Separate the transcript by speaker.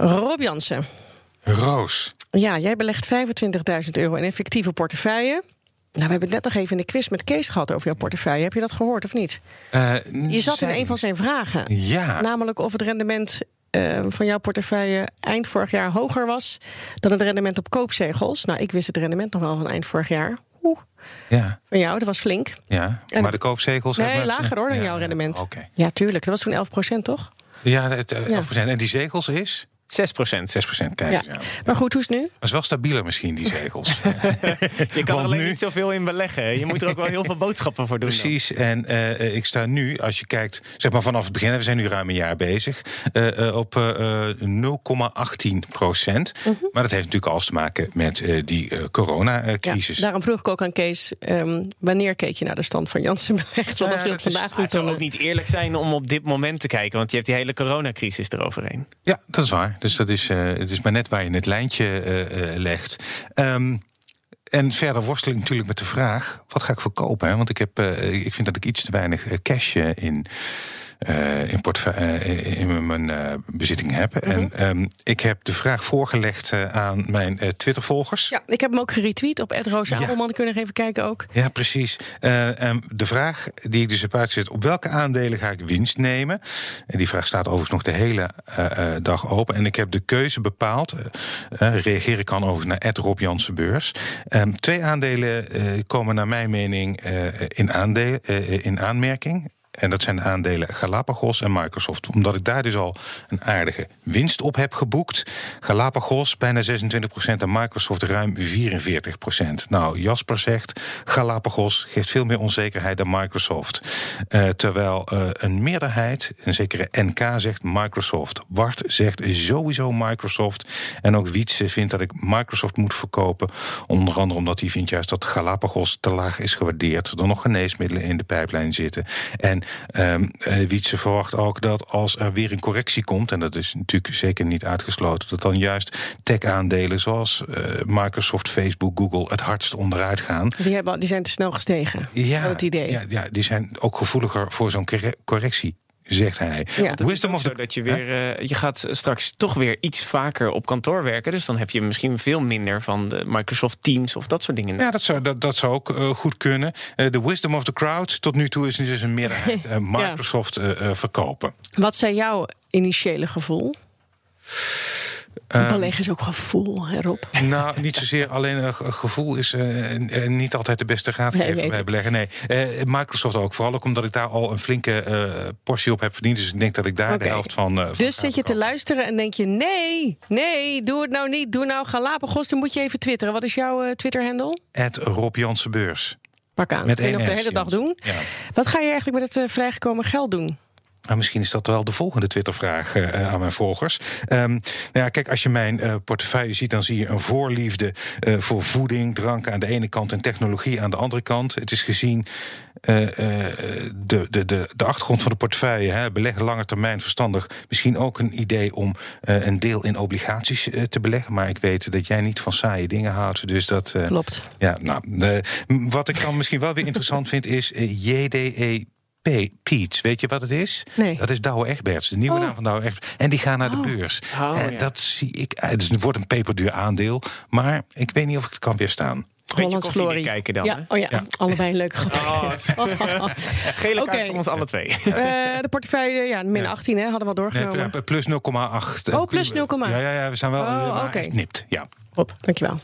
Speaker 1: Rob Jansen.
Speaker 2: Roos.
Speaker 1: Ja, jij belegt 25.000 euro in effectieve portefeuille. Nou, we hebben het net nog even in de quiz met Kees gehad over jouw portefeuille. Heb je dat gehoord of niet?
Speaker 2: Eh,
Speaker 1: Je zat in
Speaker 2: zij-
Speaker 1: een van zijn vragen.
Speaker 2: Ja.
Speaker 1: Namelijk of het rendement eh, van jouw portefeuille eind vorig jaar hoger was dan het rendement op koopzegels. Nou, ik wist het rendement nog wel van eind vorig jaar. Oeh,
Speaker 2: ja.
Speaker 1: van jou, dat was flink.
Speaker 2: Ja,
Speaker 1: En-
Speaker 2: maar de koopzegels...
Speaker 1: Nee,
Speaker 2: hebben-
Speaker 1: lager hoor dan
Speaker 2: Ja,
Speaker 1: jouw rendement.
Speaker 2: Oké.
Speaker 1: Ja, tuurlijk. Dat was toen 11% toch?
Speaker 2: Ja, het, eh,
Speaker 1: Ja.
Speaker 2: 11%. En die zegels is?
Speaker 3: 6 procent.
Speaker 2: 6% kijk
Speaker 1: Ja.
Speaker 2: eens aan.
Speaker 1: Maar goed, hoe is het nu?
Speaker 2: Dat is wel stabieler misschien, die zegels.
Speaker 3: Je kan er
Speaker 2: Want
Speaker 3: alleen
Speaker 2: nu-
Speaker 3: niet zoveel in beleggen. Je moet er ook wel heel veel boodschappen voor doen. dan.
Speaker 2: Precies. En eh, eh, ik sta nu, als je kijkt, zeg maar vanaf het begin, we zijn nu ruim een jaar bezig, eh, eh, op eh, eh, 0,18 procent.
Speaker 1: Mhm.
Speaker 2: Maar dat heeft natuurlijk alles te maken met eh, die
Speaker 1: Ja,
Speaker 2: coronacrisis.
Speaker 1: daarom vroeg ik ook aan Kees, ehm, wanneer keek je naar de stand van Janssen belegd? Want
Speaker 2: Ja,
Speaker 1: als je dat
Speaker 2: dat is-
Speaker 1: vandaag
Speaker 3: Maar
Speaker 1: doet,
Speaker 3: het zou
Speaker 1: dan...
Speaker 3: ook
Speaker 2: eh,
Speaker 3: niet eerlijk zijn om op dit moment te kijken, want je hebt die hele coronacrisis eroverheen.
Speaker 2: Ja, dat is waar. Dus dat is, eh, het is maar net waar je het lijntje eh, eh, legt. Ehm, en verder worstel ik natuurlijk met de vraag: wat ga ik verkopen? Hè? Want ik, heb, eh, ik vind dat ik iets te weinig eh, cash eh, in, eh, in, portfe- eh, in mijn eh, bezitting heb. En ehm, ik heb de vraag voorgelegd eh, aan mijn eh, Twitter-volgers.
Speaker 1: Ja, ik heb hem ook geretweet op Ed Roos Abelman. Kunnen nog even kijken ook.
Speaker 2: Ja, precies. Eh, en de vraag die ik dus heb uitgezet... op welke aandelen ga ik winst nemen? En die vraag staat overigens nog de hele eh, eh, dag open. En ik heb de keuze bepaald. Eh, eh, reageren kan overigens naar Ed Rob Jansen Beurs. Eh, twee aandelen eh, komen naar mijn mening eh, in, aandeel, eh, in aanmerking... En dat zijn de aandelen Galapagos en Microsoft. Omdat ik daar dus al een aardige winst op heb geboekt. Galapagos bijna 26% en Microsoft ruim 44%. Nou, Jasper zegt Galapagos geeft veel meer onzekerheid dan Microsoft. Eh, terwijl eh, een meerderheid, een zekere NK, zegt Microsoft. Wart zegt sowieso Microsoft. En ook Wietse vindt dat ik Microsoft moet verkopen. Onder andere omdat hij vindt juist dat Galapagos te laag is gewaardeerd. Er nog geneesmiddelen in de pijplijn zitten. En ehm eh, Wietse verwacht ook dat als er weer een correctie komt, en dat is natuurlijk zeker niet uitgesloten, dat dan juist tech-aandelen zoals eh, Microsoft, Facebook, Google het hardst onderuit gaan.
Speaker 1: Die, hebben, al- die zijn te snel gestegen.
Speaker 2: Ja,
Speaker 1: Groot idee.
Speaker 2: Ja, ja, die zijn ook gevoeliger voor zo'n corre- correctie, zegt hij.
Speaker 1: Ja.
Speaker 3: Het is ook zo dat je weer, eh, je gaat straks toch weer iets vaker op kantoor werken. Dus dan heb je misschien veel minder van de Microsoft Teams of dat soort dingen.
Speaker 2: Ja, dat zou, dat, dat zou ook eh, goed kunnen. Eh, De wisdom of the crowd, tot nu toe is dus een meerderheid eh, Microsoft eh, eh, verkopen.
Speaker 1: Wat zijn jouw initiële gevoel? Beleggen is ook gevoel, hè, Rob.
Speaker 2: Nou, niet zozeer alleen een ge- gevoel is eh, eh, niet altijd de beste
Speaker 1: Nee,
Speaker 2: raadgever
Speaker 1: weet
Speaker 2: bij
Speaker 1: ik.
Speaker 2: beleggen. Nee, eh, Microsoft ook. Vooral ook omdat ik daar al een flinke eh, portie op heb verdiend. Dus ik denk dat ik daar
Speaker 1: Oké.
Speaker 2: de helft van. eh, van
Speaker 1: Dus zit
Speaker 2: ga
Speaker 1: je te
Speaker 2: verkopen.
Speaker 1: luisteren en denk je: nee, nee, doe het nou niet. Doe nou Galapagos. Dan moet je even twitteren. Wat is jouw eh, Twitter-handle?
Speaker 2: Ed Rob Jansen Beurs.
Speaker 1: Pak aan.
Speaker 2: Met
Speaker 1: Kun je nog
Speaker 2: één
Speaker 1: de
Speaker 2: S,
Speaker 1: hele dag
Speaker 2: Jans.
Speaker 1: doen.
Speaker 2: Ja.
Speaker 1: Wat ga je eigenlijk met het eh, vrijgekomen geld doen?
Speaker 2: Nou, misschien is dat wel de volgende Twittervraag eh, eh, aan mijn volgers. Ehm, nou ja, kijk, als je mijn eh, portefeuille ziet, dan zie je een voorliefde eh, voor voeding, drank aan de ene kant en technologie aan de andere kant. Het is gezien eh, eh, de, de, de, de achtergrond van de portefeuille, hè, beleggen lange termijn verstandig. Misschien ook een idee om eh, een deel in obligaties eh, te beleggen. Maar ik weet dat jij niet van saaie dingen houdt. Dus dat. eh,
Speaker 1: Klopt.
Speaker 2: ja, nou, eh, m- wat ik dan misschien wel weer interessant vind is eh, JDE. P- Piets, weet je wat het is?
Speaker 1: Nee.
Speaker 2: Dat is Douwe Egberts, de nieuwe
Speaker 1: Oh.
Speaker 2: naam van Douwe Egberts. En die gaan naar de beurs.
Speaker 3: Oh,
Speaker 2: en
Speaker 3: ja.
Speaker 2: dat zie ik. eh, Dus het wordt een peperduur aandeel. Maar ik weet niet of ik het kan weerstaan.
Speaker 3: Beetje
Speaker 1: Hollands
Speaker 3: koffiedik
Speaker 1: glorie.
Speaker 3: kijken dan,
Speaker 1: Ja,
Speaker 3: hè? Oh,
Speaker 1: oh ja,
Speaker 2: Ja.
Speaker 1: allebei een leuk grapje.
Speaker 3: Gele kaart
Speaker 1: Oké.
Speaker 3: van ons alle twee.
Speaker 1: Eh, de portefeuille, ja, min 18 hè, hadden we al
Speaker 2: Nee,
Speaker 1: doorgenomen.
Speaker 2: p- p- Eh, plus 0,8.
Speaker 1: Oh, plus 0,8.
Speaker 2: Ja, ja, ja, we zijn wel
Speaker 1: Oh,
Speaker 2: eh, maar
Speaker 1: oké.
Speaker 2: geknipt. Ja.
Speaker 1: Rob, dankjewel.